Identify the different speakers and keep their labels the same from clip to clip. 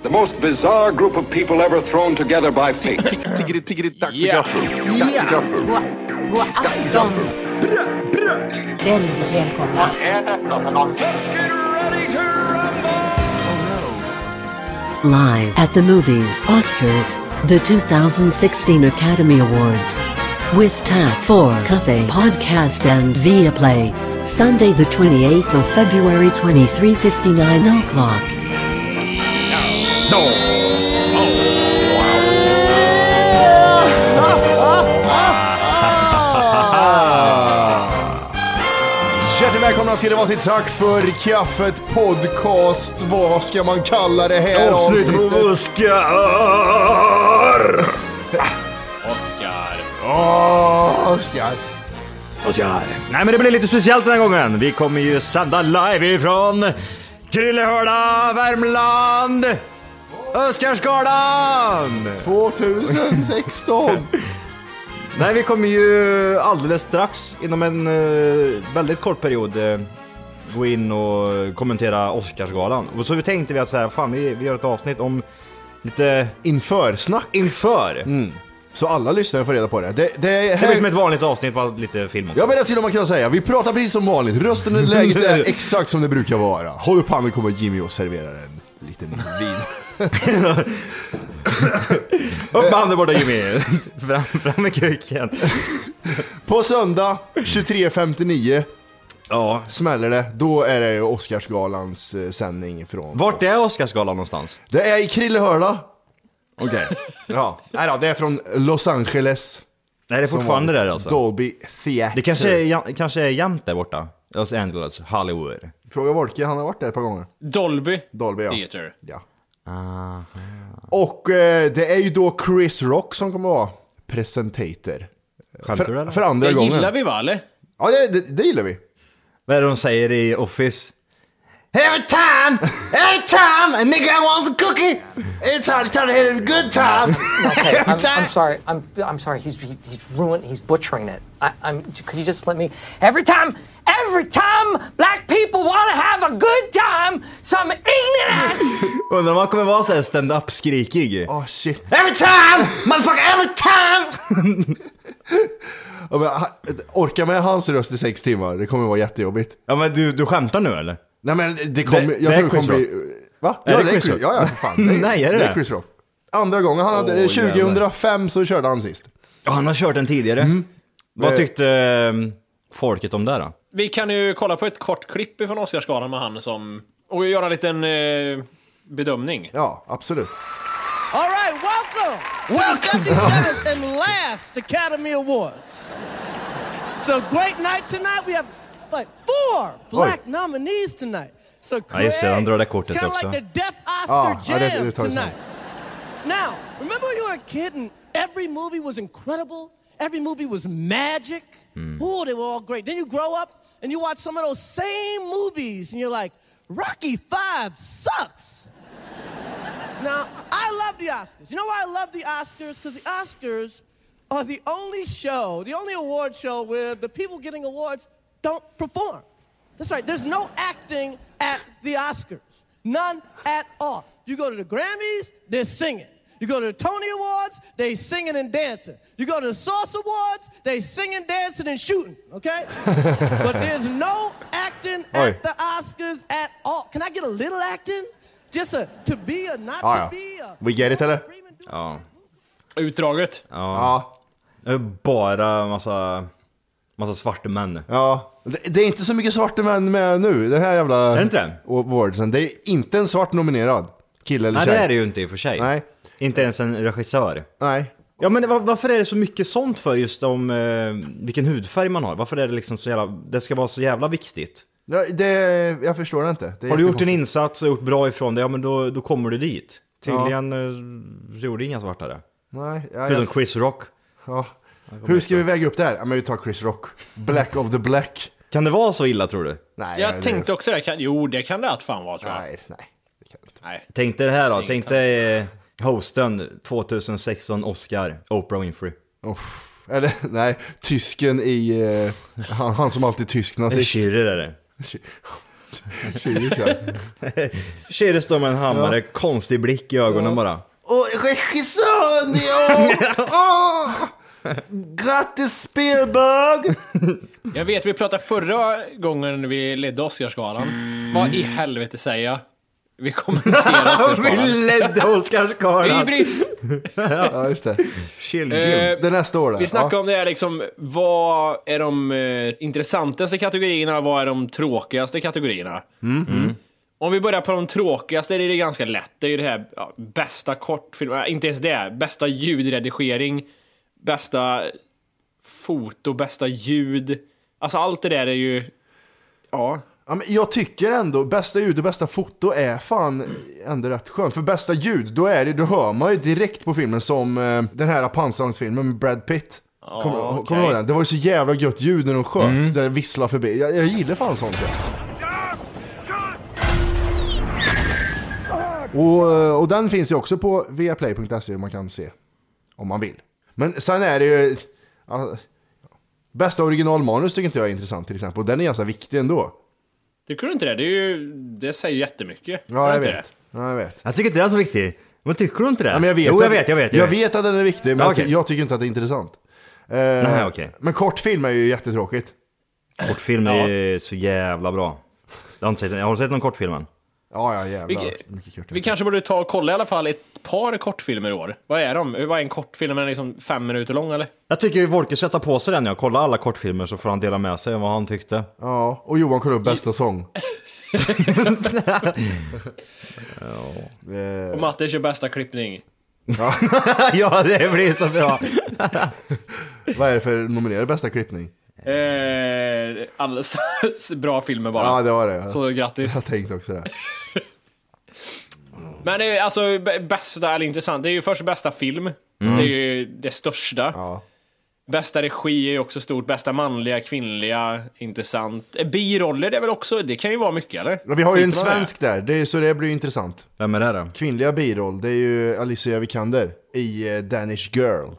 Speaker 1: The most bizarre group of people ever thrown together by fate.
Speaker 2: Tiggeri, tiggeri, dack för gaffel. Dack för gaffel.
Speaker 3: God afton! Väldigt välkomna.
Speaker 4: Live at the movies, Oscars, the 2016 Academy Awards. With Tap 4 Cafe Podcast and Via Play. Sunday, the 28th of February, 2359 o'clock.
Speaker 2: Hjärtligt välkomna ska det vara till Tack för kaffet podcast. Vad ska man kalla det här
Speaker 5: Oh,
Speaker 2: avsnittet?
Speaker 5: Oskar!
Speaker 6: Oscar.
Speaker 2: Åh, Oskar.
Speaker 5: Oskar. Nej men det blir lite speciellt den här gången. Vi kommer ju sända live ifrån Krillehörda, Värmland! Öskarsgalan!
Speaker 2: 2016.
Speaker 5: Nej vi kommer ju alldeles strax inom en eh, väldigt kort period eh, gå in och kommentera Oscarsgalan. Och så vi tänkte vi att så här, fan vi, vi gör ett avsnitt om lite
Speaker 2: Inför snack.
Speaker 5: inför.
Speaker 2: Så alla lyssnare får reda på det. Det, det,
Speaker 5: Det
Speaker 2: här...
Speaker 5: blir som ett vanligt avsnitt fast lite film också.
Speaker 2: Ja men det skulle man kunna säga. Vi pratar precis som vanligt. Rösten och läget är exakt som det brukar vara. Håll upp handen kommer Jimmy och serverar en liten vin.
Speaker 5: Upp med handen borta Jimmy! fram, fram med kuken!
Speaker 2: På söndag 23.59
Speaker 5: Ja.
Speaker 2: smäller det. Då är det ju Oscarsgalans eh, sändning från...
Speaker 5: Vart är Oscarsgalan någonstans?
Speaker 2: Det är i Krillehörla.
Speaker 5: Okej.
Speaker 2: Ja, nej då, det är från Los Angeles.
Speaker 5: Nej det är fortfarande där alltså?
Speaker 2: Dolby Theatre.
Speaker 5: Det kanske är, jam- kanske är jämnt där borta? Los Angeles, Hollywood.
Speaker 2: Fråga Wolke, han har varit där ett par gånger.
Speaker 7: Dolby.
Speaker 2: Dolby ja.
Speaker 7: Theater.
Speaker 2: ja. Och eh, det är ju då Chris Rock som kommer vara presentator.
Speaker 5: Skämtar du
Speaker 2: För,
Speaker 5: eller?
Speaker 2: för andra
Speaker 7: Det
Speaker 2: gången.
Speaker 7: gillar vi va eller?
Speaker 2: Ja, det, det, det gillar vi.
Speaker 5: Vad är det de säger i Office? Every time, every time a nigga wants a cookie, it's hard to tell a good time.
Speaker 8: Okay, I'm, I'm sorry. I'm, I'm sorry. He's, he, he's ruined. He's butchering it. I, I'm. Could you just let me? Every time, every time black people want to have a good time, some ignorant.
Speaker 5: Undrar om han kommer vara såhär stand-up skrikig.
Speaker 2: Åh Ah, shit.
Speaker 5: Every time! Motherfucker every time!
Speaker 2: Ja, men, ha- orka med hans röst i sex timmar, det kommer vara jättejobbigt.
Speaker 5: Ja men du, du skämtar nu eller?
Speaker 2: Nej men det kommer,
Speaker 5: Det-
Speaker 2: jag
Speaker 5: det
Speaker 2: tror
Speaker 5: är
Speaker 2: det kommer
Speaker 5: Chris
Speaker 2: bli... Va?
Speaker 5: Är
Speaker 2: ja,
Speaker 5: det
Speaker 2: det är
Speaker 5: Chris
Speaker 2: Chris
Speaker 5: Rock?
Speaker 2: Ja, ja, för fan. Det är,
Speaker 5: Nej, är det
Speaker 2: det? är
Speaker 5: det?
Speaker 2: Chris Rock. Andra gången, han hade,
Speaker 5: Åh,
Speaker 2: 2005 så körde han sist.
Speaker 5: Ja, han har kört den tidigare. Mm. Vad tyckte eh, folket om det då?
Speaker 7: Vi kan ju kolla på ett kort klipp ifrån Oscarsgalan med han som... Och göra en liten eh, bedömning.
Speaker 2: Ja, absolut.
Speaker 9: All right, welcome. Welcome. The 77th and last Academy Awards. So great night tonight. We have like four black nominees tonight. So
Speaker 5: Ja, just det, han drar det kortet
Speaker 9: it's kinda
Speaker 5: också.
Speaker 9: like the Deaf
Speaker 2: Ah,
Speaker 9: Oscar
Speaker 2: ja, det-
Speaker 9: Jam
Speaker 2: det tar vi sen.
Speaker 9: tonight. Now, remember when you were a kid and every movie was incredible? Every movie was magic?
Speaker 2: Mm.
Speaker 9: Oh, they were all great. Then you grow up and you watch some of those same movies and you're like, Rocky 5 sucks. now, I love the Oscars. You know why I love the Oscars? Because the Oscars are the only show, the only award show where the people getting awards don't perform. That's right, there's no acting at the Oscars. None at all. You go to the Grammys, they're singing. You go to the Tony Awards, they singing and dancing. You go to the Source Awards, they singing, dancing, and shooting, okay? but there's no acting
Speaker 2: Oj.
Speaker 9: at the Oscars at all. Can I get a little acting? Just a to be or not
Speaker 2: Ah,
Speaker 9: to
Speaker 2: ja.
Speaker 9: be a
Speaker 2: We get it eller?
Speaker 5: Ja.
Speaker 7: Utdraget.
Speaker 5: Ja. Det är Bara massa, massa svarta män.
Speaker 2: Ja. Det, det är inte så mycket svarta män med nu, den här jävla... Är det
Speaker 5: inte
Speaker 2: Awardsen. Det är inte en svart nominerad. Kille eller
Speaker 5: Nej
Speaker 2: tjej.
Speaker 5: det är det ju inte i och för sig.
Speaker 2: Nej.
Speaker 5: Inte ens en regissör.
Speaker 2: Nej.
Speaker 5: Ja men va- varför är det så mycket sånt för just om eh, vilken hudfärg man har? Varför är det liksom så jävla, det ska vara så jävla viktigt?
Speaker 2: Ja, det, jag förstår det inte. Det är
Speaker 5: Har du gjort en
Speaker 2: jättekonstigt.
Speaker 5: insats och gjort bra ifrån det, ja men då, då kommer du dit.
Speaker 2: Ja.
Speaker 5: Tydligen eh, så gjorde inga svartare.
Speaker 2: Nej, ja,
Speaker 5: Förutom
Speaker 2: jag...
Speaker 5: Chris Rock.
Speaker 2: ja. Hur ska vi väga upp det här? Ja, men vi tar Chris Rock. Black of the black.
Speaker 5: Kan det vara så illa tror du?
Speaker 2: Nej,
Speaker 7: Jag tänkte också det. Kan, jo, det kan det att fan vara tror jag.
Speaker 2: Nej, nej.
Speaker 7: Nej.
Speaker 5: Tänk dig det här då,
Speaker 7: Inget
Speaker 5: tänk dig eh, hosten 2016 Oscar, Oprah Winfrey.
Speaker 2: Uff. Eller nej, tysken i... eh, han, han som alltid är tysk
Speaker 5: Är det
Speaker 2: nazist.
Speaker 5: Schürrer är det?
Speaker 2: Tjugo, tjugo.
Speaker 5: Schürrer står med en hammare, konstig blick i ögonen bara.
Speaker 2: Och regissören, ja! Åh! Grattis Spielberg!
Speaker 7: Jag vet, vi pratade förra gången vi ledde Oscarsgalan. Vad
Speaker 5: Mm.
Speaker 7: i helvete säger jag? Vi kommenterar Oscarsgalan.
Speaker 5: Ledde Oscarsgalan!
Speaker 7: Hybris!
Speaker 2: ja, just det.
Speaker 5: Eh, Chillgrim.
Speaker 2: Det är nästa år där.
Speaker 7: Vi snackade om det här liksom, vad är de eh, intressantaste kategorierna, vad är de tråkigaste kategorierna?
Speaker 2: Mm.
Speaker 7: Mm. Om vi börjar på de tråkigaste, det är det ganska lätt. Det är ju det här ja, bästa kortfilm, äh, inte ens det, bästa ljudredigering, bästa foto, bästa ljud. Alltså allt det där är ju, ja.
Speaker 2: Ja, men jag tycker ändå bästa ljud och bästa foto är fan ändå rätt skönt. För bästa ljud, då, är det, då hör man ju direkt på filmen som eh, den här pansarvagnsfilmen med Brad Pitt. Kommer
Speaker 7: okej.
Speaker 2: kommer du ihåg den? Det var ju så jävla gött ljud när de sköt. Där det visslade förbi. Jag, jag gillar fan sånt. ja. Och, eh, och den finns ju också på viaplay.se man kan se. Om man vill. Men sen är det ju... ja, bästa originalmanus tycker inte jag är intressant till exempel. Och den är ganska viktig ändå.
Speaker 7: Tycker du inte det? Det, är ju, det säger jättemycket.
Speaker 2: Ja, jag
Speaker 7: Inte
Speaker 2: vet. Ja, jag vet.
Speaker 5: Jag tycker inte den är så viktig. Men tycker du inte det?
Speaker 2: Ja, men jag vet
Speaker 5: jo,
Speaker 2: att,
Speaker 5: jag vet, jag vet.
Speaker 2: Jag vet att den är viktig, men
Speaker 5: Ja,
Speaker 2: jag ty-
Speaker 5: okej.
Speaker 2: jag tycker inte att det är intressant. Eh,
Speaker 5: Nej, okej.
Speaker 2: Men kortfilm är ju jättetråkigt.
Speaker 5: Kortfilm är så jävla bra. Jag har, inte sett, har du sett någon kortfilm än?
Speaker 2: Ja, ja, jävlar.
Speaker 7: Vilket-
Speaker 2: Mycket kort. alltså.
Speaker 7: Vi kanske borde ta och kolla i alla fall ett par kortfilmer i år. Vad är de? Vad är en kortfilm? Den är liksom fem minuter lång eller?
Speaker 5: Jag tycker Wolke ska ta på sig den. Jag kollar alla kortfilmer så får han dela med sig om vad han tyckte.
Speaker 2: Ja, och Johan kollar upp bästa sång. Eh,
Speaker 7: Och Matte kör bästa klippning.
Speaker 5: ja, det blir så bra.
Speaker 2: Vad är det för nominerade bästa klippning?
Speaker 7: Eh, alldeles bra filmer bara.
Speaker 2: Ja, det var det.
Speaker 7: Så grattis.
Speaker 2: Jag tänkte också det.
Speaker 7: Men det är alltså b- bästa, eller intressant, det är ju först bästa film. Det är ju det största.
Speaker 2: Mm. Ja.
Speaker 7: Bästa regi är ju också stort. Bästa manliga, kvinnliga, intressant. Eh, Biroller det är väl också, det kan ju vara mycket eller?
Speaker 2: Ja, Vi har ju en
Speaker 7: Skiter man i det?
Speaker 2: svensk där, det är, så det blir ju intressant.
Speaker 5: Vem är det då?
Speaker 2: Kvinnliga biroll, det är ju Alicia Vikander i eh, Danish Girl.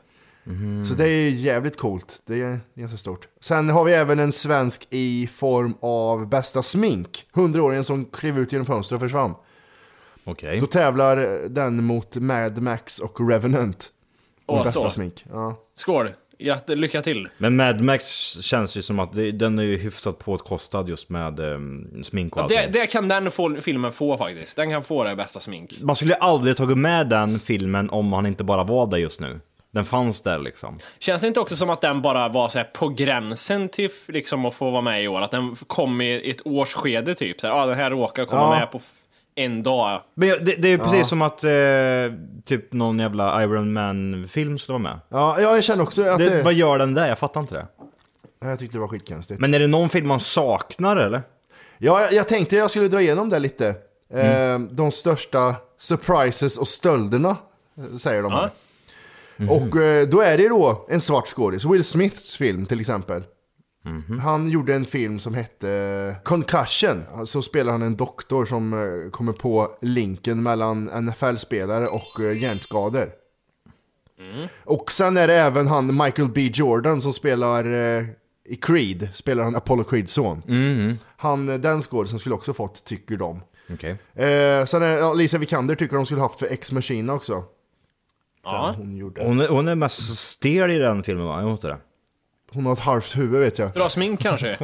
Speaker 2: Så det är ju jävligt coolt, det är ganska stort. Sen har vi även en svensk i form av bästa smink. Hundraåringen som klev ut genom fönstret och försvann.
Speaker 5: Okej.
Speaker 2: Då tävlar den mot Mad Max och Revenant. Om
Speaker 7: Åh,
Speaker 2: bästa
Speaker 7: så.
Speaker 2: smink. Ja.
Speaker 7: Skål! Gratt- Lycka till!
Speaker 5: Men Mad Max känns ju som att det, den är ju hyfsat påkostad just med ehm, smink och
Speaker 7: Det,
Speaker 5: allting.
Speaker 7: det kan den få, filmen få faktiskt. Den kan få det bästa smink.
Speaker 5: Man skulle aldrig tagit med den filmen om han inte bara var där just nu. Den fanns där liksom.
Speaker 7: Känns det inte också som att den bara var så här på gränsen till f- liksom att få vara med i år? Att den f- kom i ett årsskede typ? Så här, ah, den här råkar komma
Speaker 2: Ja.
Speaker 7: med på f- en dag.
Speaker 5: Men jag- det, det är ju precis som att eh, typ någon jävla Iron Man-film skulle vara med.
Speaker 2: Ja, ja, jag känner också att det...
Speaker 5: Det, vad gör den där? Jag fattar inte det.
Speaker 2: Jag tyckte det var skitkonstigt.
Speaker 5: Men är det någon film man saknar eller?
Speaker 2: Ja, jag, jag tänkte jag skulle dra igenom det lite.
Speaker 7: Mm.
Speaker 2: Eh, de största surprises och stölderna, eh, säger de här.
Speaker 7: Ja.
Speaker 2: Och eh, då är det då en svart skådis. Will Smiths film till exempel. Han gjorde en film som hette eh, Concussion. Så spelar han en doktor som eh, kommer på linken mellan NFL-spelare och eh, hjärnskador. Och sen är det även han Michael B Jordan som spelar eh, i Creed, spelar han Apollo Creeds son. Han, eh, den skådisen skulle också fått, tycker de.
Speaker 5: Okej.
Speaker 2: Eh, sen är, ja, Lisa Vikander tycker de skulle haft för Ex Machina också.
Speaker 7: Ja.
Speaker 2: hon gjorde.
Speaker 5: Hon, är- hon är mest stel i den filmen va? Jo, inte det.
Speaker 2: Hon har ett halvt huvud vet jag.
Speaker 7: Bra smink kanske?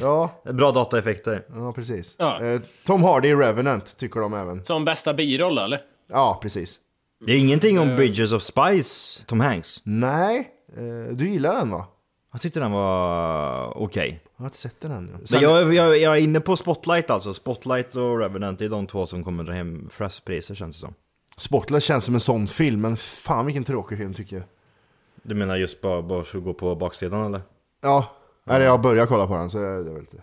Speaker 2: Ja,
Speaker 5: Bra dataeffekter.
Speaker 2: ja precis.
Speaker 7: Ja.
Speaker 2: Eh, Tom Hardy i Revenant tycker de även.
Speaker 7: Som bästa biroll eller?
Speaker 2: Ja, precis.
Speaker 5: Det är ingenting
Speaker 2: Mm.
Speaker 5: om Bridges of Spice, Tom Hanks.
Speaker 2: Nej, eh, du gillar den va?
Speaker 5: Jag tyckte den var okej.
Speaker 2: Jag har inte sett den ännu.
Speaker 5: Men Jag, jag, jag är inne på Spotlight alltså. Spotlight och Revenant, det är de två som kommer dra hem flest priser känns det som.
Speaker 2: Spotlight känns som en sån film, men fan vilken tråkig film tycker jag.
Speaker 5: Du menar just bara, bara så gå på baksidan eller?
Speaker 2: Ja, eller jag börjar kolla på den så jag- det var lite...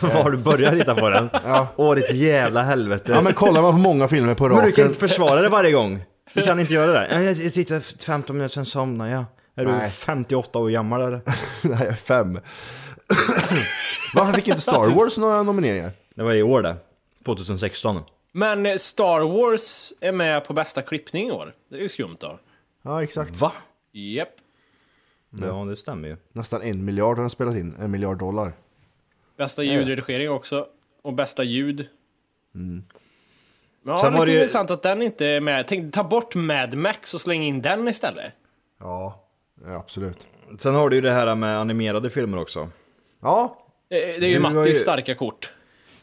Speaker 2: så.
Speaker 5: Har du börjat titta på den?
Speaker 2: Ja.
Speaker 5: Åh ditt jävla helvete.
Speaker 2: Ja men kollar man på många filmer på
Speaker 5: Men du kan
Speaker 2: raken.
Speaker 5: inte försvara det varje gång. Du kan inte göra det. Jag, jag tittade 15 minuter, sen somnade jag. Är
Speaker 2: Nej.
Speaker 5: du 58 år gammal eller?
Speaker 2: Nej, jag är fem. Varför fick inte
Speaker 5: Typ.
Speaker 2: Star Wars några nomineringar?
Speaker 5: Det var i år det. 2016.
Speaker 7: Men eh, Star Wars är med på bästa klippning i år. Det är ju skumt då.
Speaker 2: Ja exakt.
Speaker 5: Va?
Speaker 7: Japp.
Speaker 5: Ja, det stämmer ju.
Speaker 2: Nästan en miljard har den spelat in, en miljard dollar.
Speaker 7: Bästa ljudredigering också. Och bästa ljud. Ja,
Speaker 5: Mm. Sen
Speaker 7: lite
Speaker 5: var det ju-
Speaker 7: intressant att den inte är med. Tänk, ta bort Mad Max och släng in den istället.
Speaker 2: Ja, ja, absolut.
Speaker 5: Sen har du ju det här med animerade filmer också.
Speaker 2: Ja,
Speaker 7: Eh, Det är ju
Speaker 5: Du var
Speaker 7: Mattis
Speaker 5: ju-
Speaker 7: starka kort.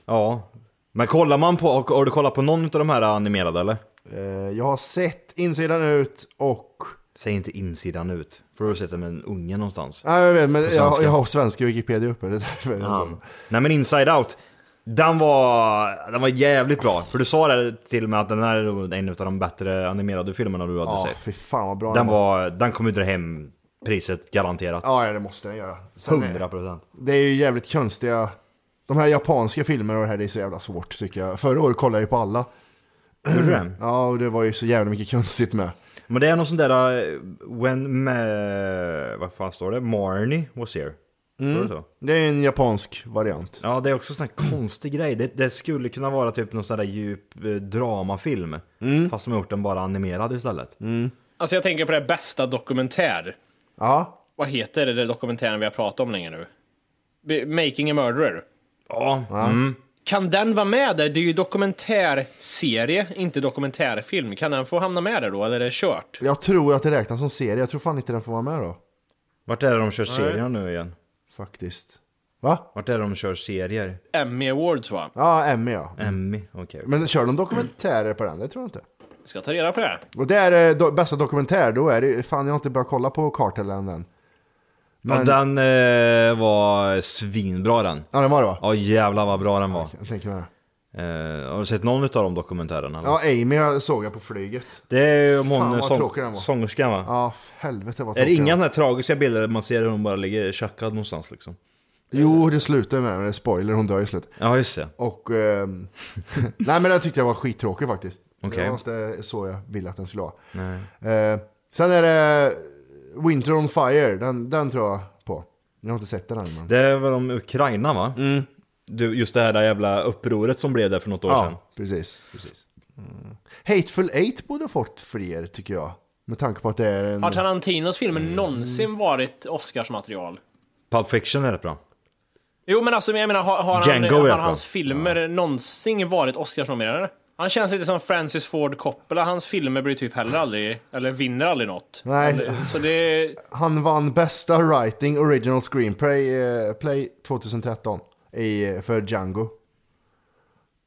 Speaker 5: Ja. Men kollar man på, har har du kollat på någon av de här animerade eller?
Speaker 2: eh, jag har sett Insidan ut och...
Speaker 5: Säg inte insidan ut. För då har du sett den med en unge någonstans.
Speaker 2: Nej jag vet, men jag,
Speaker 5: svenska.
Speaker 2: jag har svenska Wikipedia uppe. Det är därför jag är så.
Speaker 5: Nej men Inside Out, den var, den var jävligt bra. För du sa det till mig att den här är nog en av de bättre animerade filmerna du hade
Speaker 2: Ja,
Speaker 5: sett.
Speaker 2: fy fan vad bra
Speaker 5: Den, var, den kommer dra hem priset garanterat.
Speaker 2: Ja, ja, det måste den göra. Sen, eh,
Speaker 5: 100 procent.
Speaker 2: Det är ju jävligt konstiga... De här japanska filmerna och det här, det är så jävla svårt tycker jag. Förra året kollade jag ju på alla. Ja, och det var ju så jävla mycket konstigt med.
Speaker 5: Men det är någon sån där... eh, When... Ma- vad fan står det? Marnie was here.
Speaker 2: Mm.
Speaker 5: Står det så?
Speaker 2: Det är en japansk variant.
Speaker 5: Ja, det är också en sån här
Speaker 2: Mm.
Speaker 5: konstig grej. Det, det skulle kunna vara typ någon sån där djup eh, dramafilm.
Speaker 2: Mm.
Speaker 5: Fast som har gjort den bara animerad istället.
Speaker 7: Alltså jag tänker på det här bästa dokumentär.
Speaker 2: Ja,
Speaker 7: Vad heter det där dokumentären vi har pratat om länge nu? B- Making a Murderer.
Speaker 5: Ja. Mm.
Speaker 7: Kan den vara med där? Det är ju dokumentärserie, inte dokumentärfilm. Kan den få hamna med där då, eller är det kört?
Speaker 2: jag tror att det räknas som serie. Jag tror fan inte den får vara med då.
Speaker 5: Vart är det de kör serier nu igen?
Speaker 2: Faktiskt. Va?
Speaker 5: Vart är det de kör serier?
Speaker 7: Emmy Awards va?
Speaker 2: Ja, Emmy ja.
Speaker 5: Emmy, okej.
Speaker 2: Men kör de dokumentärer på den? Det tror jag inte.
Speaker 7: Ska jag ta reda på det?
Speaker 2: Och det är eh, do- bästa dokumentär, då är det Fan, jag har inte börjat kolla på Cartellen än.
Speaker 5: Ja, den eh, var svinbra den.
Speaker 2: Ja, den var det va?
Speaker 5: Ja jävlar vad bra den var.
Speaker 2: Jag tänker med det.
Speaker 5: Eh, har du sett någon av de dokumentärerna? eller?
Speaker 2: Ja, Amy jag såg jag på flyget.
Speaker 5: Det är ju om
Speaker 2: Fan,
Speaker 5: hon
Speaker 2: vad
Speaker 5: sång,
Speaker 2: tråkig den var.
Speaker 5: sångerskan va?
Speaker 2: Ja, f- helvete vad
Speaker 5: är det
Speaker 2: tråkig
Speaker 5: inga
Speaker 2: den
Speaker 5: sådana här tragiska bilder där man ser hur hon bara ligger tjackad någonstans liksom?
Speaker 2: Jo, det slutar med det. är Spoiler, hon dör i slutet.
Speaker 5: Ja just det.
Speaker 2: Och... ehm, nej, men den tyckte jag var skittråkig faktiskt.
Speaker 5: Okej.
Speaker 2: Det var inte så jag ville att den skulle vara. Eh, sen är det Winter on Fire. Den, den tror jag på. Jag har inte sett den än. Men...
Speaker 5: Det är väl om Ukraina va? Du, just det här där jävla upproret som blev där för något år sedan.
Speaker 2: Ja, precis. precis. Mm. Hateful Eight borde ha fått fler, tycker jag. Med tanke på att det är
Speaker 5: Mm.
Speaker 2: en...
Speaker 7: Har Tarantinos filmer någonsin varit Oscarsmaterial?
Speaker 5: Pulp Fiction är rätt bra.
Speaker 7: Jo men alltså jag menar, har, har,
Speaker 5: Django
Speaker 7: han,
Speaker 5: är
Speaker 7: har
Speaker 5: bra.
Speaker 7: hans filmer någonsin varit Oscarsnominerade? Han känns lite som Francis Ford Coppola, hans filmer blir typ heller aldrig, eller vinner aldrig något.
Speaker 2: Nej.
Speaker 7: Eller- Så det,
Speaker 2: Han vann bästa writing original screenplay eh, play 2013 i, eh, för Django.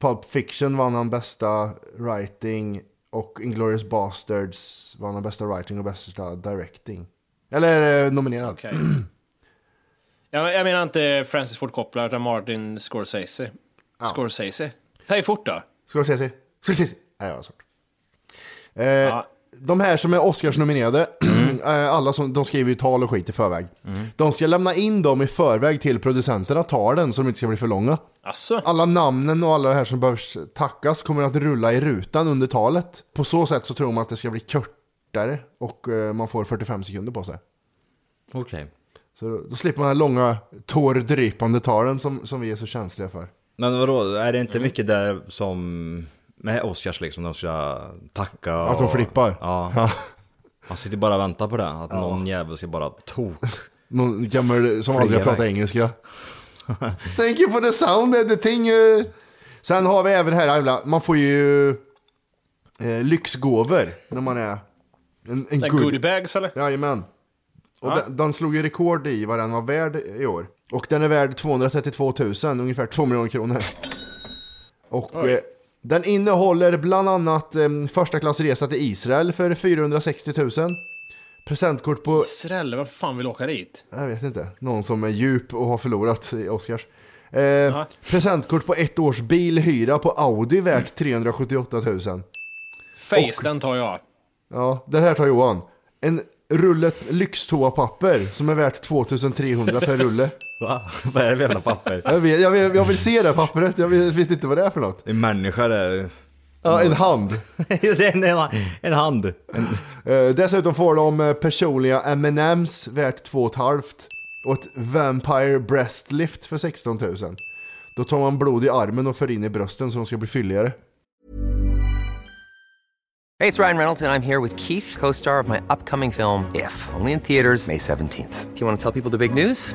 Speaker 2: Pulp Fiction vann han bästa writing och Inglourious Basterds vann han bästa writing och bästa directing. Eller eh, nominerad.
Speaker 7: Okej. Jag, jag menar inte Francis Ford Coppola utan Martin Scorsese. Scorsese. Säg fort då.
Speaker 2: Ska vi se sig? Ska vi se sig? Nej, jag har svårt. Eh, De här som är Oscars-nominerade, eh, alla som, de skriver ju tal och skit i förväg. De ska lämna in dem i förväg till producenterna, tar den så de inte ska bli för långa.
Speaker 7: Asså?
Speaker 2: Alla namnen och alla det här som behövs tackas kommer att rulla i rutan under talet. På så sätt så tror man att det ska bli kortare och eh, man får 45 sekunder på sig.
Speaker 5: Okej.
Speaker 2: Så då, då slipper man den långa tårdrypande talen som, som vi är så känsliga för.
Speaker 5: Men vadå, är det inte mycket där som... Med Oscars liksom, de ska tacka
Speaker 2: Att de
Speaker 5: och-
Speaker 2: flippar.
Speaker 5: Ja. Man sitter bara och väntar på det, att någon jävel ska bara tok.
Speaker 2: Någon gammal som aldrig har
Speaker 5: iväg.
Speaker 2: pratat engelska. Thank you for the sound editing. eh. Sen har vi även här, jävla- man får ju eh, lyxgåvor när man är En, en
Speaker 7: Like
Speaker 2: good-
Speaker 7: goodie bags eller?
Speaker 2: Jajamän. Och
Speaker 7: Ja.
Speaker 2: den, den slog ju rekord i vad den var värd i år. Och den är värd 232 000, ungefär 2 miljoner kronor. Och
Speaker 7: Oj.
Speaker 2: eh, den innehåller bland annat eh, första klassresa till Israel för 460 000. Presentkort på,
Speaker 7: Israel, vem fan vill åka dit?
Speaker 2: jag vet inte, någon som är djup och har förlorat i Oscars. Eh, presentkort på ett års bilhyra på Audi värt 378 000.
Speaker 7: Face, den tar jag.
Speaker 2: Ja, den här tar Johan. En rulle lyxtoapapper som är värt 2300 per rulle.
Speaker 5: Va? Vad är det för jävla papper?
Speaker 2: Jag, vet, jag, vill, jag vill se det här pappret, jag vet, vet inte vad det är för något.
Speaker 5: En människa där.
Speaker 2: Ja, en hand.
Speaker 5: det är en, en, en hand. En,
Speaker 2: Eh, dessutom får de eh, personliga M&M's värt 2,5 och ett Vampire Breast Lift för 16 000. Då tar man blod i armen och för in i brösten så de ska bli fylligare.
Speaker 10: Hey, it's Ryan Reynolds, and I'm here with Keith, co star of my upcoming film, If, only in theaters, May 17th. Do you want to tell people the big news?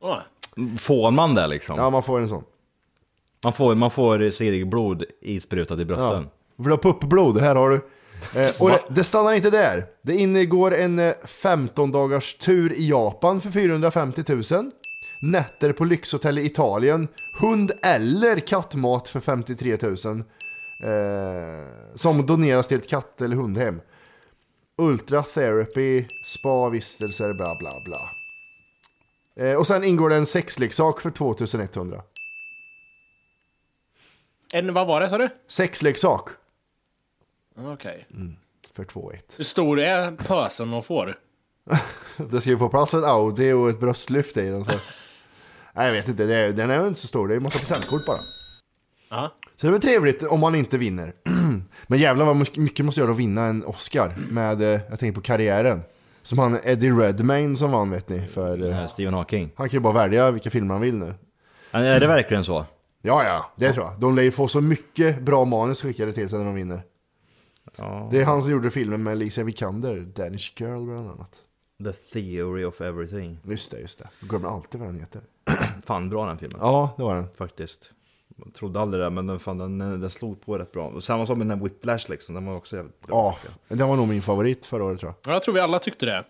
Speaker 7: Åh,
Speaker 5: får man det liksom?
Speaker 2: Ja, man får en sån.
Speaker 5: Man får, man får sitt eget blod isprutat i brösten.
Speaker 2: Vill du ha puppblod? Här har du. Eh, och det, det stannar inte där. Det ingår en eh, 15 dagars tur i Japan för 450 000. Nätter på lyxhotell i Italien. Hund eller kattmat för 53 000. Eh, som doneras till ett katt eller hundhem. Ultra therapy, spa-vistelser, bla bla bla. Eh, och sen ingår det en sexleksak för 2100.
Speaker 7: En, vad var det sa du?
Speaker 2: Sexleksak
Speaker 7: Okej.
Speaker 2: Mm. för 2100.
Speaker 7: Hur stor är pösen de får?
Speaker 2: Det ska ju få plats en Audi och ett bröstlyft i den. Så. Nej, jag vet inte, det är, den är ju inte så stor. Det är ju en massa presentkort bara.
Speaker 7: Ja.
Speaker 2: Så det är väl trevligt om man inte vinner. Men jävlar vad mycket- mycket måste göra att vinna en Oscar med, eh, jag tänker på karriären. Som han Eddie Redmayne som vann vet ni. För, eh,
Speaker 5: Stephen Hawking.
Speaker 2: han kan ju bara välja vilka filmer han vill nu.
Speaker 5: Är det verkligen så?
Speaker 2: Ja, ja, det tror jag. De lär ju få så mycket bra manus skickade till sig när de vinner. Det är han som gjorde filmen med Alicia Vikander, Danish Girl bland annat.
Speaker 5: The theory of everything.
Speaker 2: Just det, just det. Jag glömmer alltid vad den heter.
Speaker 5: Fan bra den filmen.
Speaker 2: Ja, det var den.
Speaker 5: Faktiskt. Jag trodde aldrig det, men den, fan, den, den slog på rätt bra. Och samma som med den här Whiplash liksom, den var också jävligt bra.
Speaker 2: Ja, den var nog min favorit förra året tror jag.
Speaker 7: Ja, Jag tror vi alla tyckte det.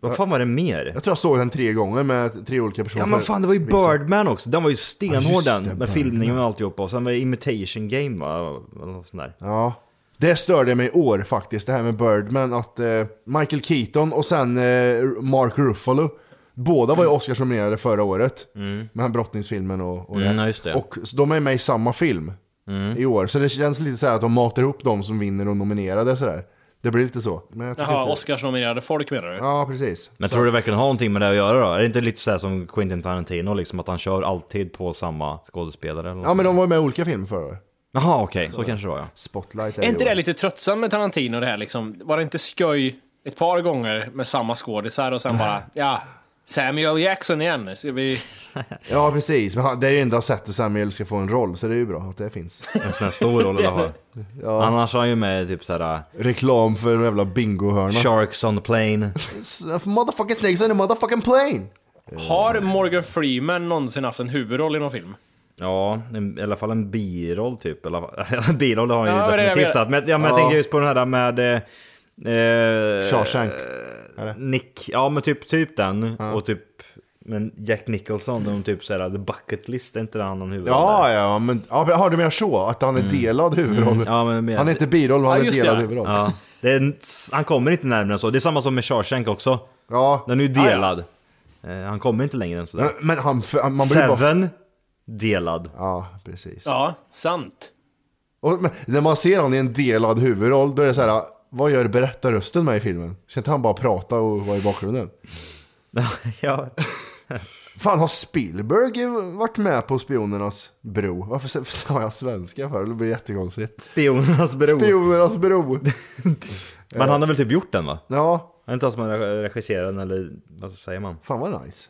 Speaker 5: Vad fan var det mer?
Speaker 2: Jag tror jag såg den tre gånger med tre olika personer.
Speaker 5: Ja men fan det var ju
Speaker 2: Vissa.
Speaker 5: Birdman också, den var ju
Speaker 2: Ja,
Speaker 5: stenhård
Speaker 2: just det,
Speaker 5: den med
Speaker 2: Birdman.
Speaker 5: filmningen och alltihopa och sen var det Imitation Game va? Eller något sånt där.
Speaker 2: Ja. Det störde mig i år faktiskt, det här med Birdman. Att eh, Michael Keaton och sen eh, Mark Ruffalo. Båda var ju Oscarsnominerade förra året.
Speaker 5: Mm.
Speaker 2: Med den brottningsfilmen och, och
Speaker 5: Mm, ja, just det.
Speaker 2: Och så de är med i samma film
Speaker 5: Mm.
Speaker 2: i år. Så det känns lite så här att de matar ihop de som vinner och nominerade sådär. Det blir lite så. Men jag tycker
Speaker 7: Jaha,
Speaker 2: inte...
Speaker 7: Oscarsnominerade folk menar du?
Speaker 2: Ja, precis.
Speaker 5: Men
Speaker 2: Så-
Speaker 5: tror du verkligen har någonting med det att göra då? Är det inte lite såhär som Quentin Tarantino liksom, att han kör alltid på samma skådespelare eller något
Speaker 2: Ja, men de var ju med i olika filmer förra året.
Speaker 5: Jaha okej, så kanske det var ja.
Speaker 2: Spotlight
Speaker 7: Är
Speaker 2: i
Speaker 7: inte
Speaker 2: år.
Speaker 7: det lite tröttsamt med Tarantino det här liksom? Var det inte skoj ett par gånger med samma skådisar och sen bara, ja, Samuel Jackson igen. Ska vi...
Speaker 2: Ja, precis. Men han- det är ju enda sättet Samuel ska få en roll, så det är ju bra att det finns.
Speaker 5: En sån här stor roll han har.
Speaker 2: Ja.
Speaker 5: Annars är han ju med i typ såhär
Speaker 2: Reklam för en jävla bingohörna.
Speaker 5: Sharks on the plane.
Speaker 2: Motherfucking snakes on a motherfucking plane!
Speaker 7: Har Morgan Freeman någonsin haft en huvudroll i någon film?
Speaker 5: Ja, en, i alla fall en biroll typ. Eller, en biroll har han ju
Speaker 7: Ja, det är det jag
Speaker 5: definitivt
Speaker 7: menar.
Speaker 5: haft. Men, ja, men
Speaker 7: Ja.
Speaker 5: jag tänker just på den här med... Eh, eh,
Speaker 2: Shawshank,
Speaker 5: Eh, Nick, ja men typ, typ den. Och typ men Jack Nicholson, de typ såhär, the bucket list, är inte det han någon huvudroll
Speaker 2: Ja,
Speaker 5: där?
Speaker 2: ja, men ja, men har du menar så? Att han är delad huvudroll?
Speaker 5: Mm, ja, men mer-
Speaker 2: Han är inte biroll, men han
Speaker 5: Ja,
Speaker 2: är
Speaker 5: just
Speaker 2: delad
Speaker 5: det, ja.
Speaker 2: huvudroll.
Speaker 5: Ja. Det är, en- han kommer inte närmare än så. Det är samma som med Shawshank också.
Speaker 2: Ah, Ja.
Speaker 5: Den är ju delad. Eh, Han kommer inte längre än sådär.
Speaker 2: Men- men han- för- man blir ju bara-
Speaker 5: Seven delad.
Speaker 2: Ja, precis.
Speaker 7: Ja, sant.
Speaker 2: Och, men, när man ser han i en delad huvudroll, då är det så här, vad gör berättarrösten med i filmen? Ska inte han bara prata och vara i bakgrunden?
Speaker 5: ja.
Speaker 2: Fan, har Spielberg varit med på Spionernas bro? Varför sa- sa jag svenska för? Det blir jättekonstigt.
Speaker 5: Spionernas bro.
Speaker 2: Spionernas bro.
Speaker 5: Men han har väl typ gjort den va?
Speaker 2: Ja.
Speaker 5: Han är inte han som har re- regisserat den eller vad säger man? Mm.
Speaker 2: Fan vad nice.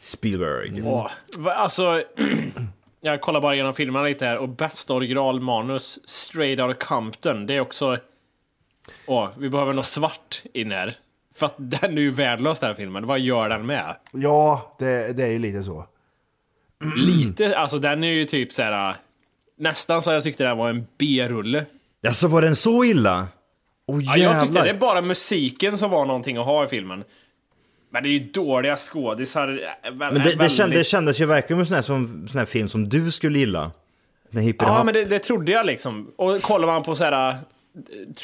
Speaker 5: Spielberg.
Speaker 2: Mm.
Speaker 7: Åh, va- alltså, jag kollar bara igenom filmerna lite här och bästa originalmanus, Straight Outta Compton, det är också... Åh, vi behöver något svart in här. För att den är ju värdelös den här filmen, vad gör den med?
Speaker 2: Ja, det, det är ju lite så.
Speaker 7: Lite, alltså den är ju typ så här. Nästan så jag tyckte den var en B-rulle.
Speaker 5: Ja, så var den så illa? Oh,
Speaker 7: Ja, jag tyckte det bara musiken som var någonting att ha i filmen. Men det är ju dåliga skådisar. äh, vä-
Speaker 5: Men det, det,
Speaker 7: väldigt-
Speaker 5: kändes, det kändes ju verkligen som en sån här, som, sån här film som du skulle gilla. Den hippie
Speaker 7: Ja, men det, det trodde jag liksom. Och kollar man på så här eh,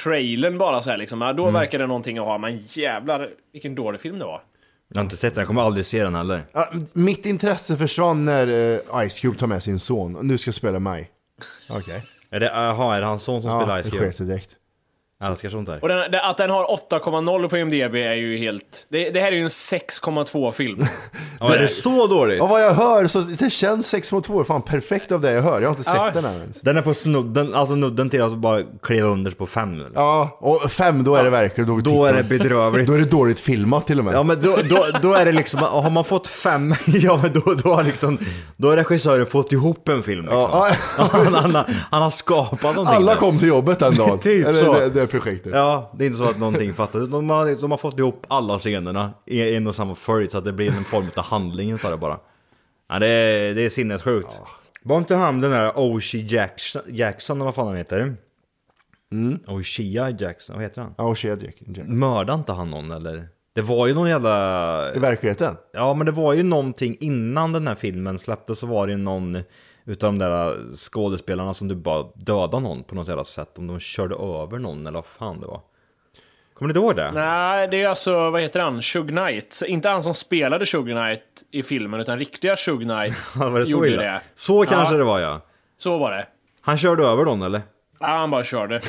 Speaker 7: trailern bara så här liksom, ja, då
Speaker 5: Mm.
Speaker 7: verkar det någonting att ha. Men jävlar vilken dålig film det var.
Speaker 5: Jag har inte sett den, jag kommer aldrig se den heller.
Speaker 2: Ja, mitt intresse försvann när eh, Ice Cube tar med sin son. Nu ska jag spela mig. Okej.
Speaker 5: Är det, aha, är det hans son som
Speaker 2: Ja,
Speaker 5: spelar Ice
Speaker 2: det
Speaker 5: Cube?
Speaker 2: sket sig direkt.
Speaker 5: Jag älskar sånt där.
Speaker 7: Och den, det- att den har 8,0 på IMDB är ju helt... Det, det här är ju en 6,2 film.
Speaker 5: Ja, är det så dåligt?
Speaker 2: Av vad jag hör så det känns 6 mot 2 fan perfekt av det jag hör. Jag har inte
Speaker 7: Ja.
Speaker 2: sett den här ens.
Speaker 5: Den är på snudden, alltså nudden till att bara kliva under på fem. Eller?
Speaker 2: Ja, och fem då är det verkligen dåligt
Speaker 5: Då
Speaker 2: tittat.
Speaker 5: är det bedrövligt.
Speaker 2: Då är det dåligt filmat till och med.
Speaker 5: Ja men då, då, då är det liksom, har man fått fem, ja men då, då har liksom, då har regissören fått ihop en film liksom. Han, han, har- han har skapat någonting.
Speaker 2: Alla
Speaker 5: där.
Speaker 2: kom till jobbet den dagen.
Speaker 5: typ
Speaker 2: Eller
Speaker 5: så.
Speaker 2: Det, det projektet.
Speaker 5: Ja, det är inte så att någonting fattas. De har, de har fått ihop alla scenerna i en och samma följd så att det blir en form av handling utav det bara. Ja, det, är, det är sinnessjukt. Var inte han den där Oshie Jackson, Jackson eller vad fan han heter? Mm. Oshia Jackson, vad heter han?
Speaker 2: Oshia Jackson.
Speaker 5: Mördade inte han någon eller? Det var ju någon jävla...
Speaker 2: I verkligheten?
Speaker 5: Ja, men det var ju någonting innan den här filmen släpptes så var det ju någon utav de där skådespelarna som du bara dödade någon på något jävla sätt. Om de körde över någon eller vad fan det var. Kommer du inte ihåg det?
Speaker 7: Nej, det är alltså, vad heter han? Shug Knight. Så Inte han som spelade Shug Knight i filmen, utan riktiga Shug Knight
Speaker 5: var det så
Speaker 7: gjorde
Speaker 5: illa?
Speaker 7: det.
Speaker 5: Så kanske
Speaker 7: ja,
Speaker 5: det var ja.
Speaker 7: Så var det.
Speaker 5: Han körde över någon eller?
Speaker 7: Ja, han bara körde.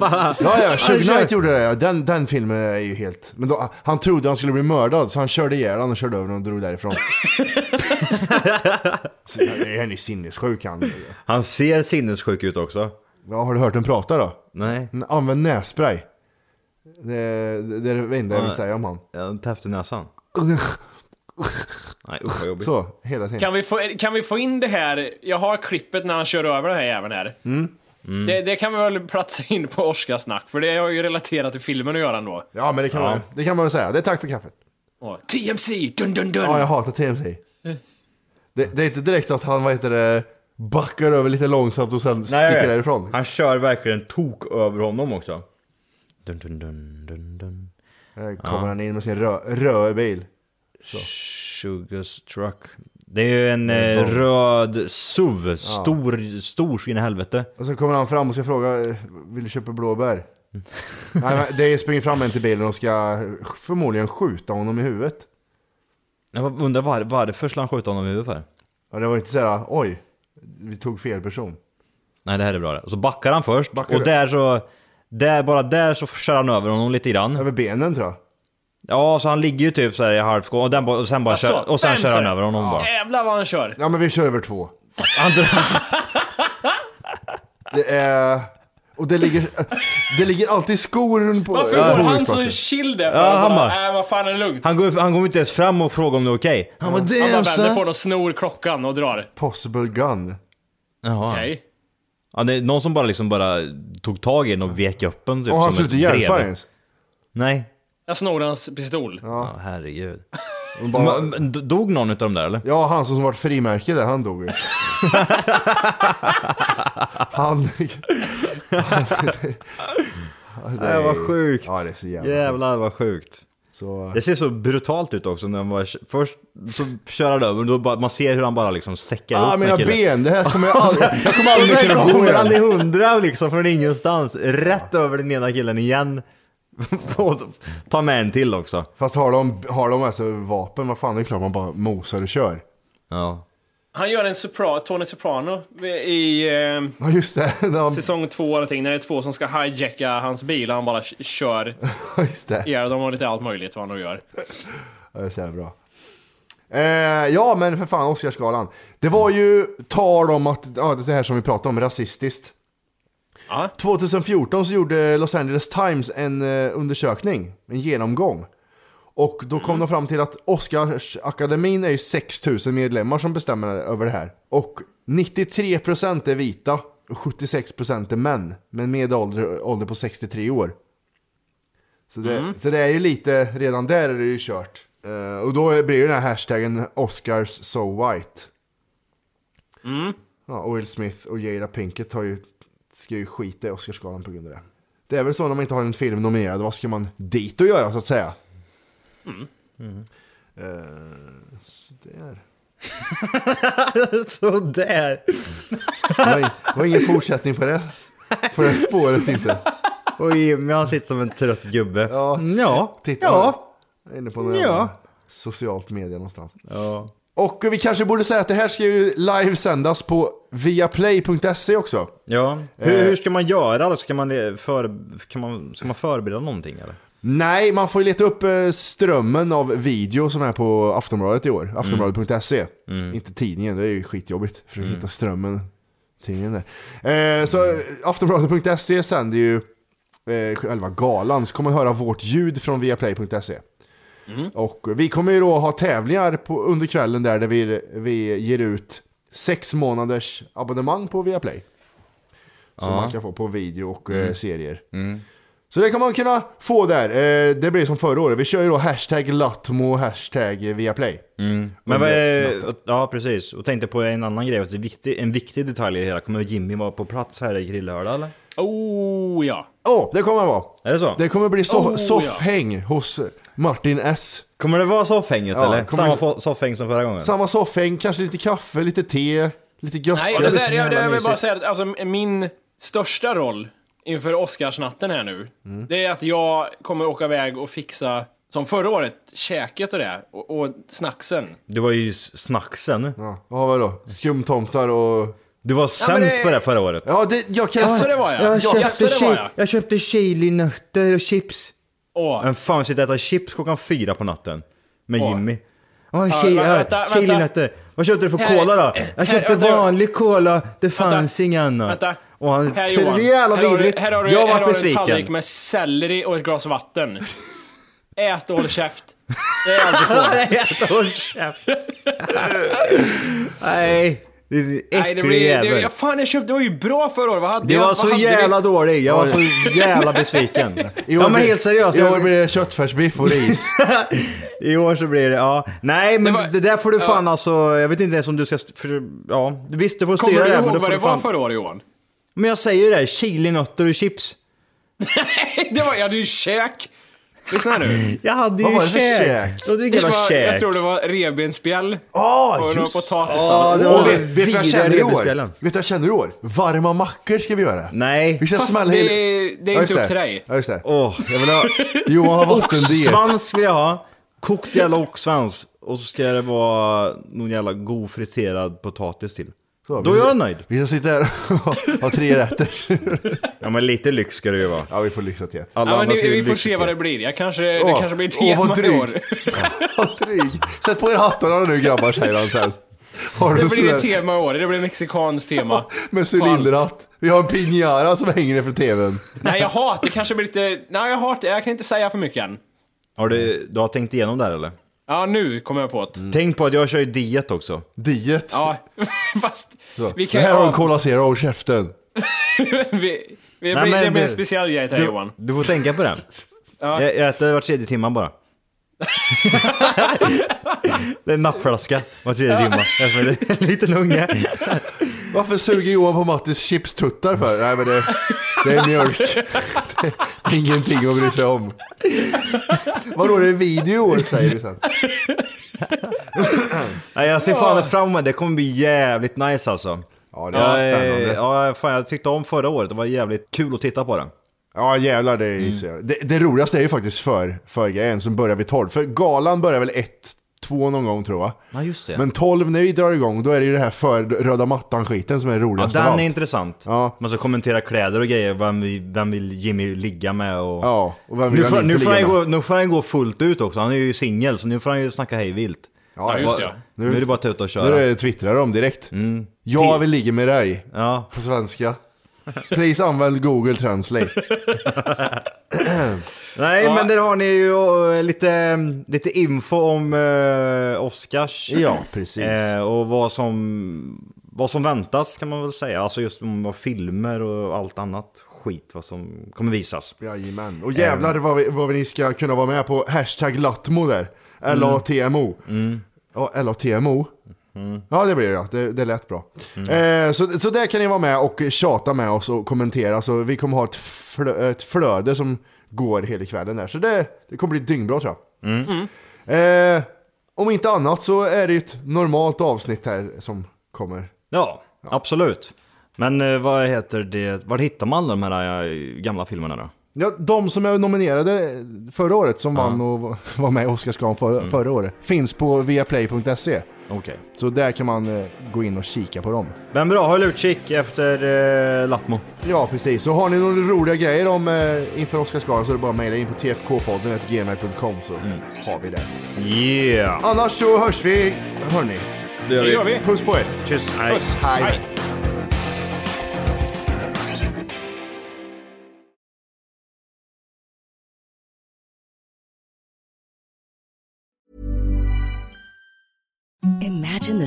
Speaker 2: Ja, ja, Suge Knight gjorde det. ja. Den, den filmen är ju helt... Men då, han trodde han skulle bli mördad, så han körde ihjäl honom och körde över honom och drog därifrån. så, det är ju sinnessjuk han.
Speaker 5: Han ser sinnessjuk ut också.
Speaker 2: Ja, har du hört den prata då?
Speaker 5: Nej.
Speaker 2: N- Använd nässpray. Det, det, det är det enda jag vill säga om han.
Speaker 5: Han täppte näsan. Nej, usch vad jobbigt.
Speaker 2: Så, hela tiden.
Speaker 7: Kan vi, få, kan vi få in det här? Jag har klippet när han kör över den här jäveln här.
Speaker 5: Mm.
Speaker 7: Det, det kan vi väl platsa in på Oscarsnack, för det har ju relaterat till filmen att göra ändå.
Speaker 2: Ja, men det kan, Man, det kan man väl säga. Det är tack för kaffet.
Speaker 7: Och, TMC! Dun, dun, dun!
Speaker 2: Ja, jag hatar TMC. Det, det är inte direkt att han, vad heter det, backar över lite långsamt och sen
Speaker 5: Nej, jag
Speaker 2: sticker
Speaker 5: vet.
Speaker 2: därifrån.
Speaker 5: Han kör verkligen tok över honom också. Dun, dun, dun, dun, dun.
Speaker 2: Här kommer
Speaker 5: Ja.
Speaker 2: han in med sin rö, röda bil.
Speaker 5: Sugarstruck. Det är ju en eh,
Speaker 2: bomb.
Speaker 5: röd SUV. Stor, stor så in i helvete.
Speaker 2: Och så kommer han fram och ska fråga, eh, vill du köpa blåbär?
Speaker 5: Mm.
Speaker 2: Nej, men det springer fram en till bilen och ska förmodligen skjuta honom i huvudet.
Speaker 5: Jag undrar var, varför skulle han skjuta honom i huvudet för?
Speaker 2: Ja, det var inte såhär, oj, vi tog fel person.
Speaker 5: Nej det här är bra det. Och så backar han först.
Speaker 2: Backar
Speaker 5: och
Speaker 2: du?
Speaker 5: där så... Där, bara där så kör han över honom lite grann.
Speaker 2: Över benen tror jag.
Speaker 5: Ja, så han ligger ju typ såhär i halvgång och, den, bara- och sen bara
Speaker 7: Alltså,
Speaker 5: kör, och sen
Speaker 7: bam,
Speaker 5: kör han
Speaker 7: så.
Speaker 5: över honom bara.
Speaker 7: Jävlar vad han kör!
Speaker 2: Ja, men vi kör över två.
Speaker 5: Han drar-
Speaker 2: Det är... Och det ligger, det ligger alltid skor runt på
Speaker 7: Varför
Speaker 2: på
Speaker 7: går han så
Speaker 2: olycksplatsen.
Speaker 7: chill där? För
Speaker 5: Ja,
Speaker 7: han
Speaker 5: han
Speaker 7: bara,
Speaker 5: bara-
Speaker 7: äh, vad fan är det lugnt?
Speaker 5: han, går, han går inte ens fram och frågar om det är okej. Han bara
Speaker 7: Han bara
Speaker 5: damn
Speaker 7: vänder på
Speaker 5: son.
Speaker 7: den och snor klockan och drar.
Speaker 2: Possible gun.
Speaker 5: Jaha.
Speaker 7: Okej.
Speaker 5: Ja, det är någon som bara liksom bara tog tag i den och vek upp den typ.
Speaker 2: och han
Speaker 5: som
Speaker 2: skulle
Speaker 5: ett
Speaker 2: inte hjälpa
Speaker 5: brev.
Speaker 2: ens.
Speaker 5: Nej.
Speaker 7: Jag snor hans pistol.
Speaker 5: Ja, herregud.
Speaker 2: bara-
Speaker 5: Men- men d- Dog någon utav dem där eller?
Speaker 2: Ja, han som vart frimärke där, han dog ju. han... han
Speaker 5: Nej, vad sjukt.
Speaker 2: Ja, det är så jävla sjukt.
Speaker 5: Jävlar vad sjukt.
Speaker 2: Så,
Speaker 5: Det ser så brutalt ut också när man bara, först så kör han över och då bara, man ser hur han bara liksom säckar
Speaker 2: ah,
Speaker 5: upp den
Speaker 2: mina
Speaker 5: killen.
Speaker 2: ben, det här kommer jag
Speaker 5: Och sen-
Speaker 2: aldrig, jag kommer aldrig
Speaker 5: och sen
Speaker 2: kunna gå
Speaker 5: kommer han i
Speaker 2: igen.
Speaker 5: hundra liksom från ingenstans, rätt över den ena killen igen. Och Ta med en till också.
Speaker 2: Fast har de, har de alltså vapen, vad fan, det är klart man bara mosar och kör.
Speaker 5: Ja.
Speaker 7: Han gör en sopra, Tony Soprano i eh,
Speaker 2: Ja just det, de,
Speaker 7: säsong två eller någonting. När det är två som ska hijacka hans bil och han bara k- kör
Speaker 2: just det.
Speaker 7: ihjäl dem och lite allt möjligt vad han nu gör.
Speaker 2: Ja, det är så jävla bra. Eh, ja men för fan, Oscarsgalan. Det var ju tal om att, ja, det här som vi pratade om, rasistiskt. 2014 så gjorde Los Angeles Times en eh, undersökning, en genomgång. Och då kom de fram till att Oscarsakademin är ju 6000 medlemmar som bestämmer över det här. Och 93% är vita och 76% är män. Men medelålder ålder på 63 år. Så det,
Speaker 5: Mm.
Speaker 2: så det är ju lite, redan där är det ju kört. Eh, och då blir ju den här hashtaggen Oscars so white.
Speaker 5: Mm.
Speaker 2: Ja, och Will Smith och Jada Pinkett har ju, ska ju skita i Oscarsgalan på grund av det. Det är väl så när man inte har en film nominerad, vad ska man dit och göra så att säga?
Speaker 5: Mm.
Speaker 2: Eh, sådär.
Speaker 5: sådär.
Speaker 2: Det var, ing- det var ingen fortsättning på det, på det spåret inte.
Speaker 5: Och Jimmy han sitter som en trött gubbe.
Speaker 2: Ja,
Speaker 5: ja.
Speaker 2: Titta,
Speaker 5: ja.
Speaker 2: jag är inne på något
Speaker 5: Ja.
Speaker 2: jävla socialt media någonstans.
Speaker 5: ja.
Speaker 2: Och vi kanske borde säga att det här ska ju livesändas på viaplay.se också.
Speaker 5: Ja. Hur,
Speaker 2: Eh.
Speaker 5: hur ska man göra då? Ska man, eh, för, kan man, ska man förbereda någonting eller?
Speaker 2: Nej, man får ju leta upp eh, strömmen av video som är på Aftonbladet i
Speaker 5: Mm.
Speaker 2: år. Aftonbladet.se. Inte tidningen, det är ju skitjobbigt. Försök
Speaker 5: Mm.
Speaker 2: hitta strömmen. Tidningen där. Eh, så eh, Aftonbladet.se sänder ju eh, själva galan. Så kommer man höra vårt ljud från viaplay.se.
Speaker 5: Mm.
Speaker 2: Och vi kommer ju då ha tävlingar på, under kvällen där, där vi, vi ger ut sex månaders abonnemang på Viaplay. Som
Speaker 5: Ja.
Speaker 2: man kan få på video och eh,
Speaker 5: Mm.
Speaker 2: serier.
Speaker 5: Mm.
Speaker 2: Så det kan man kunna få där. Eh, det blir som förra året. Vi kör ju då hashtag Latmo och hashtag Viaplay.
Speaker 5: Mm. Men
Speaker 2: Under
Speaker 5: vad är, ja precis, och tänkte på en annan grej, också. en viktig, en viktig detalj i det hela. Kommer Jimmy vara på plats här i grillhörda eller?
Speaker 7: Oh ja.
Speaker 2: Åh, det kommer det vara.
Speaker 5: Är det så?
Speaker 2: Det kommer bli so-
Speaker 7: Oh, ja.
Speaker 2: soffhäng hos Martin S.
Speaker 5: Kommer det vara soffhänget
Speaker 2: Ja,
Speaker 5: eller?
Speaker 2: kommer-
Speaker 5: Samma fo- soffhäng som förra gången?
Speaker 2: Samma soffhäng, kanske lite kaffe, lite te, lite gött.
Speaker 7: Nej,
Speaker 2: Ja,
Speaker 7: alltså,
Speaker 2: det
Speaker 7: det
Speaker 2: är så
Speaker 7: här, jag,
Speaker 2: jävla
Speaker 7: jag vill bara
Speaker 2: mysigt.
Speaker 7: säga att alltså, min största roll inför Oscarsnatten här nu,
Speaker 2: Mm.
Speaker 7: det är att jag kommer åka iväg och fixa, som förra året, käket och det, och, och snacksen.
Speaker 5: Det var ju s- snacksen.
Speaker 2: Ja, vad var det då? Skumtomtar och...
Speaker 5: Du var
Speaker 7: men
Speaker 5: sämst
Speaker 7: det-
Speaker 5: på det förra året.
Speaker 2: Ja, det, jag kan...
Speaker 7: Jaså, det var jag? Ja, jaså, det var jag?
Speaker 5: jag köpte chilinötter och chips.
Speaker 7: Åh.
Speaker 5: Men fan, sitta och äta chips klockan fyra på natten. Med
Speaker 7: Åh.
Speaker 5: Jimmy. Åh,
Speaker 7: Ja,
Speaker 5: chi-
Speaker 7: vä-
Speaker 5: här,
Speaker 7: vänta, vänta.
Speaker 5: chilinötter. Vad köpte du för
Speaker 7: Här-
Speaker 5: cola då?
Speaker 7: här-
Speaker 5: Jag köpte
Speaker 7: vänta.
Speaker 5: vanlig cola, det fanns ingen annan.
Speaker 7: Vänta.
Speaker 5: Och han,
Speaker 7: Här
Speaker 5: det är jävla
Speaker 7: här har du,
Speaker 5: vidrigt.
Speaker 7: här har du,
Speaker 5: jag
Speaker 7: här
Speaker 5: var
Speaker 7: har du en tallrik
Speaker 5: besviken.
Speaker 7: med selleri och ett glas vatten. Ät och håll käft. Det är allt du får.
Speaker 5: Ät och håll käft. Nej, det är en
Speaker 7: Nej, det
Speaker 5: äcklig
Speaker 7: blir... Det,
Speaker 5: jävel.
Speaker 7: jag, fan, jag köpte... Det var ju bra förra året. Vad hade
Speaker 5: Det
Speaker 7: jag?
Speaker 5: var
Speaker 7: Vad
Speaker 5: så
Speaker 7: hade vi?
Speaker 5: jävla dålig, jag var så jävla besviken. Ja men helt seriöst.
Speaker 2: I
Speaker 5: jag-
Speaker 2: år blir det köttfärsbiff och ris.
Speaker 5: I år så blir det, ja. Nej men det, där får du fan alltså, jag vet inte ens om du ska, st- för, ja. Visst du får
Speaker 7: Kommer
Speaker 5: styra
Speaker 7: du
Speaker 5: det här,
Speaker 7: ihåg
Speaker 5: men då får
Speaker 7: vad det
Speaker 5: du
Speaker 7: var
Speaker 5: fan.
Speaker 7: förra året, Johan?
Speaker 5: Men jag säger ju det, här, chilinötter och chips.
Speaker 7: Det var... Jag hade ju käk. Lyssna här nu.
Speaker 5: Jag hade
Speaker 7: Vad
Speaker 5: ju
Speaker 7: var det för
Speaker 5: käk.
Speaker 7: käk?
Speaker 5: Jag hade ju hela
Speaker 7: var, jag
Speaker 5: käk.
Speaker 7: tror det var revbensspjäll.
Speaker 2: Ah,
Speaker 7: och någon
Speaker 2: just-
Speaker 5: ah,
Speaker 7: potatissallad.
Speaker 5: det
Speaker 7: Åh,
Speaker 5: var-
Speaker 2: Och vet, vet du vad jag känner i
Speaker 5: Vidare
Speaker 2: år?
Speaker 5: redospelen.
Speaker 2: Vet du vad jag känner i år? Varma mackor ska vi göra.
Speaker 5: Nej.
Speaker 2: Vi ska
Speaker 7: Fast
Speaker 2: smälla
Speaker 7: det-
Speaker 2: hela-
Speaker 7: det är
Speaker 2: Ja,
Speaker 7: inte
Speaker 2: just
Speaker 7: upp till dig.
Speaker 2: Ja, just det.
Speaker 5: Åh, jag vill ha
Speaker 2: Johan har E vattendiet.
Speaker 5: oxsvans vill jag ha. Kokt jävla oxsvans. Och så ska det vara någon jävla god friterad potatis till.
Speaker 2: Så,
Speaker 5: Då
Speaker 2: vi-
Speaker 5: är jag nöjd.
Speaker 2: Vi ska sitta här och ha tre rätter.
Speaker 5: Ja men lite lyx ska det ju vara.
Speaker 2: Ja, vi får lyxa till ett.
Speaker 5: Alla
Speaker 7: Ja, men
Speaker 5: andra
Speaker 7: nu,
Speaker 5: ska ju
Speaker 7: vi får
Speaker 5: lyxa
Speaker 7: se vad
Speaker 5: till.
Speaker 7: det blir. Jag kanske, det
Speaker 2: Åh,
Speaker 7: kanske blir
Speaker 2: åh, vad
Speaker 7: tema i
Speaker 2: dryg.
Speaker 7: år.
Speaker 2: Vad dryg. Sätt på er hattarna nu grabbar, säger han sen. Har du
Speaker 7: Det blir
Speaker 2: sådär-
Speaker 7: ett tema i år. Det blir mexikanskt tema.
Speaker 2: Med cylinderhatt. Vi har en pinjara som hänger ner för tvn.
Speaker 7: Nej, jag hatar det. kanske blir lite... Nej, jag hatar Jag kan inte säga för mycket än.
Speaker 5: Har du, du har tänkt igenom det här eller?
Speaker 7: Ja, nu kommer jag på det.
Speaker 5: Mm.
Speaker 2: Mm.
Speaker 5: Tänk på att jag kör ju diet också.
Speaker 2: Diet.
Speaker 7: Ja, fast...
Speaker 2: Så.
Speaker 7: Vi kan,
Speaker 2: det här har en
Speaker 7: ja,
Speaker 2: Cola Zero i käften.
Speaker 7: vi, vi,
Speaker 5: Nej, men
Speaker 7: det blir
Speaker 5: du-
Speaker 7: en speciell grej till här,
Speaker 5: Du,
Speaker 7: Johan.
Speaker 5: du får tänka på den.
Speaker 7: Ja.
Speaker 5: Jag, jag äter var tredje timma bara. det är en nappflaska var tredje timma. Jag får en liten unge.
Speaker 2: Varför suger Johan på Mattis chipstuttar för? Nej men det, det är mjölk. Det är ingenting att bry sig om. Vadå, det är video säger vi sen.
Speaker 5: Nej, jag ser fan fram emot det. Det kommer bli jävligt nice alltså.
Speaker 2: Ja, det är
Speaker 5: Jag, eh,
Speaker 2: spännande.
Speaker 5: Ja, fan, jag tyckte om förra året. Det var jävligt kul att titta på den.
Speaker 2: Ja jävlar det
Speaker 5: Mm.
Speaker 2: är så jävla- det, det roligaste är ju faktiskt för, för grejen som börjar vid 12. För galan börjar väl 1, 2 någon gång tror jag.
Speaker 5: Ja, just det.
Speaker 2: Men 12 när vi drar igång då är det ju det här för röda mattan skiten som är
Speaker 5: Ja,
Speaker 2: roligast av
Speaker 5: den
Speaker 2: allt.
Speaker 5: är intressant. Man ska kommentera kläder och grejer, vem, vi- vem vill Jimmy ligga med och...
Speaker 2: Ja, och vem vill
Speaker 5: nu,
Speaker 2: han
Speaker 5: får,
Speaker 2: inte
Speaker 5: nu, får
Speaker 2: ligga
Speaker 5: han
Speaker 2: med?
Speaker 5: gå, nu får han gå fullt ut också, han är ju singel så nu får han ju snacka hejvilt.
Speaker 2: Ja, just det, ja.
Speaker 5: Nu, nu är det bara att tuta och
Speaker 2: Nu
Speaker 5: köra. Mm.
Speaker 2: är det twittrar de direkt. Jag vill ligga med dig. På svenska. Please använd Google Translate.
Speaker 5: Nej
Speaker 2: Ja.
Speaker 5: men där har ni ju eh, lite, lite info om eh, Oscars.
Speaker 2: Ja, precis.
Speaker 5: Eh, och vad som, vad som väntas kan man väl säga. Alltså just om vad filmer och allt annat skit vad som kommer visas.
Speaker 2: Jajamän. Och jävlar vad, vi, vad ni ska kunna vara med på hashtag Latmo där. L-A-T-M-O. Mm. Ja, L-A-T-M-O. Ja, det blir det. ja. Det, det lät bra. Eh, så, så där kan ni vara med och tjata med oss och kommentera. Så vi kommer ha ett, flö, ett flöde som går hela kvällen där. Så det, det kommer bli dyngbra tror jag. Eh, om inte annat så är det ju ett normalt avsnitt här som kommer.
Speaker 5: Ja, absolut. Men eh, vad heter det, var hittar man alla de här eh, gamla filmerna då?
Speaker 2: Ja, de som är nominerade förra året som vann och var med i Oscarsgalan för, förra året finns på viaplay.se.
Speaker 5: Okej.
Speaker 2: Så där kan man eh, gå in och kika på dem.
Speaker 5: Men bra, håll utkik efter eh, Lattmo.
Speaker 2: Ja, precis. Så har ni några roliga grejer om eh, inför Oscarsgalan så är det bara att mejla in på tfkpodden gmail.com så har vi det.
Speaker 5: Yeah!
Speaker 2: Annars så hörs vi, hörni.
Speaker 5: Det gör vi. Det gör vi.
Speaker 2: Puss på er.
Speaker 5: Tjus, hej.
Speaker 2: Puss, hej.
Speaker 5: Hej.
Speaker 11: Imagine the